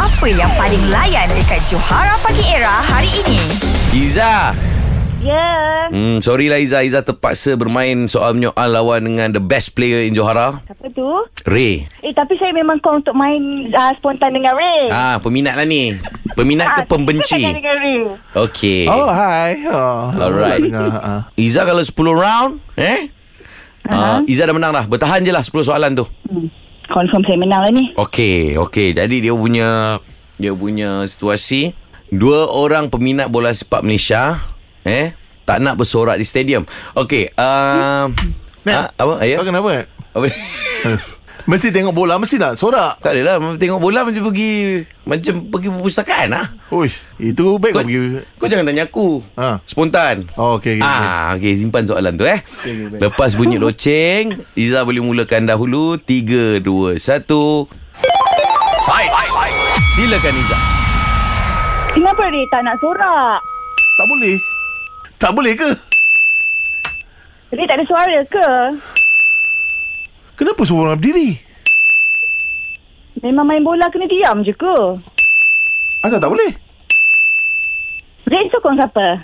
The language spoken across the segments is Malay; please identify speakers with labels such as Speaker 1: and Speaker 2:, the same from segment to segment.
Speaker 1: Apa yang paling layan dekat Johara Pagi Era hari ini?
Speaker 2: Iza
Speaker 3: Ya.
Speaker 2: Hmm, sorry lah Iza Iza terpaksa bermain soal menyoal lawan dengan the best player in Johara
Speaker 3: Apa tu?
Speaker 2: Ray
Speaker 3: Eh tapi saya memang call untuk main uh, spontan dengan Ray.
Speaker 2: Ah, peminat lah ni Peminat ke
Speaker 3: Ah, saya cakap
Speaker 2: pembenci
Speaker 3: dengan Ray.
Speaker 2: Okay
Speaker 4: Oh, hi. Oh,
Speaker 2: Alright.
Speaker 4: dengar, ha.
Speaker 2: Iza kalau 10 round Eh Uh, Iza dah menang dah Bertahan je lah 10 soalan tu
Speaker 3: Hmm. Confirm saya menang lah ni.
Speaker 2: Okey, okey. Jadi dia punya dia punya situasi dua orang peminat bola sepak Malaysia eh tak nak bersorak di stadium. Okey, uh, ha,
Speaker 4: Nat,
Speaker 2: apa? Ya.
Speaker 4: Kau kenapa?
Speaker 2: Apa? ni?
Speaker 4: Mesti tengok bola, mesti nak sorak.
Speaker 2: Tak adalah tengok bola macam pergi macam pergi perpustakaan ah.
Speaker 4: Uish, itu baik
Speaker 2: Kau,
Speaker 4: kau pergi.
Speaker 2: kau jangan tanya aku.
Speaker 4: Ha.
Speaker 2: Spontan.
Speaker 4: Oh, okey, okey,
Speaker 2: Ah, okey simpan soalan tu eh.
Speaker 4: okey, baik.
Speaker 2: Lepas bunyi loceng, Iza boleh mulakan dahulu. 3 2 1. Fight. Silakan Iza.
Speaker 3: Kenapa Ray tak nak sorak?
Speaker 4: Tak boleh. Tak boleh ke?
Speaker 3: Ray tak ada suara ke?
Speaker 4: Kenapa semua orang berdiri?
Speaker 3: Memang main bola kena diam je ke?
Speaker 4: Asal tak boleh?
Speaker 3: Ray sokong siapa?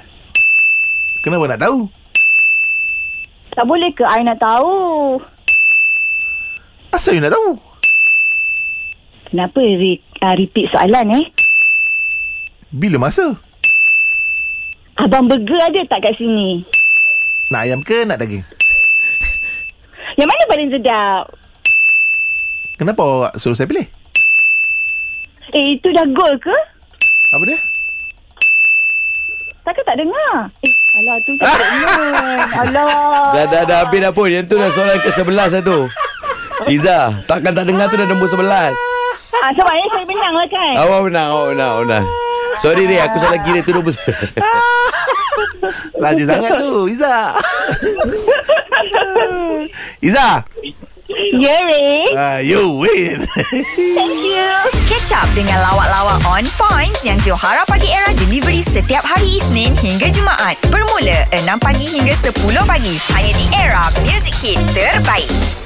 Speaker 4: Kenapa nak tahu?
Speaker 3: Tak boleh ke? I nak tahu.
Speaker 4: Asal you nak tahu?
Speaker 3: Kenapa Ray uh, repeat soalan eh?
Speaker 4: Bila masa?
Speaker 3: Abang Burger ada tak kat sini?
Speaker 4: Nak ayam ke nak daging?
Speaker 3: Yang mana paling sedap?
Speaker 4: Kenapa awak suruh saya pilih?
Speaker 3: Eh, itu dah gol ke?
Speaker 4: Apa dia?
Speaker 3: Takkan tak dengar? Eh, alah tu tak dengar. Alah.
Speaker 2: Dah dah dah habis dah pun Yang tu dah soalan ke-11 dah tu Iza Takkan tak dengar tu dah nombor 11
Speaker 3: Ah, sebab ni saya menang lah kan?
Speaker 2: Awak menang Awak menang Awak menang Sorry Ray Aku salah kira tu nombor
Speaker 4: Laju sangat tu, Iza. Iza,
Speaker 3: Yeah, Ray.
Speaker 4: uh, you win.
Speaker 3: Thank you.
Speaker 1: Catch up dengan lawak-lawak on points yang Johara Pagi Era delivery setiap hari Isnin hingga Jumaat. Bermula 6 pagi hingga 10 pagi. Hanya di Era Music Hit Terbaik.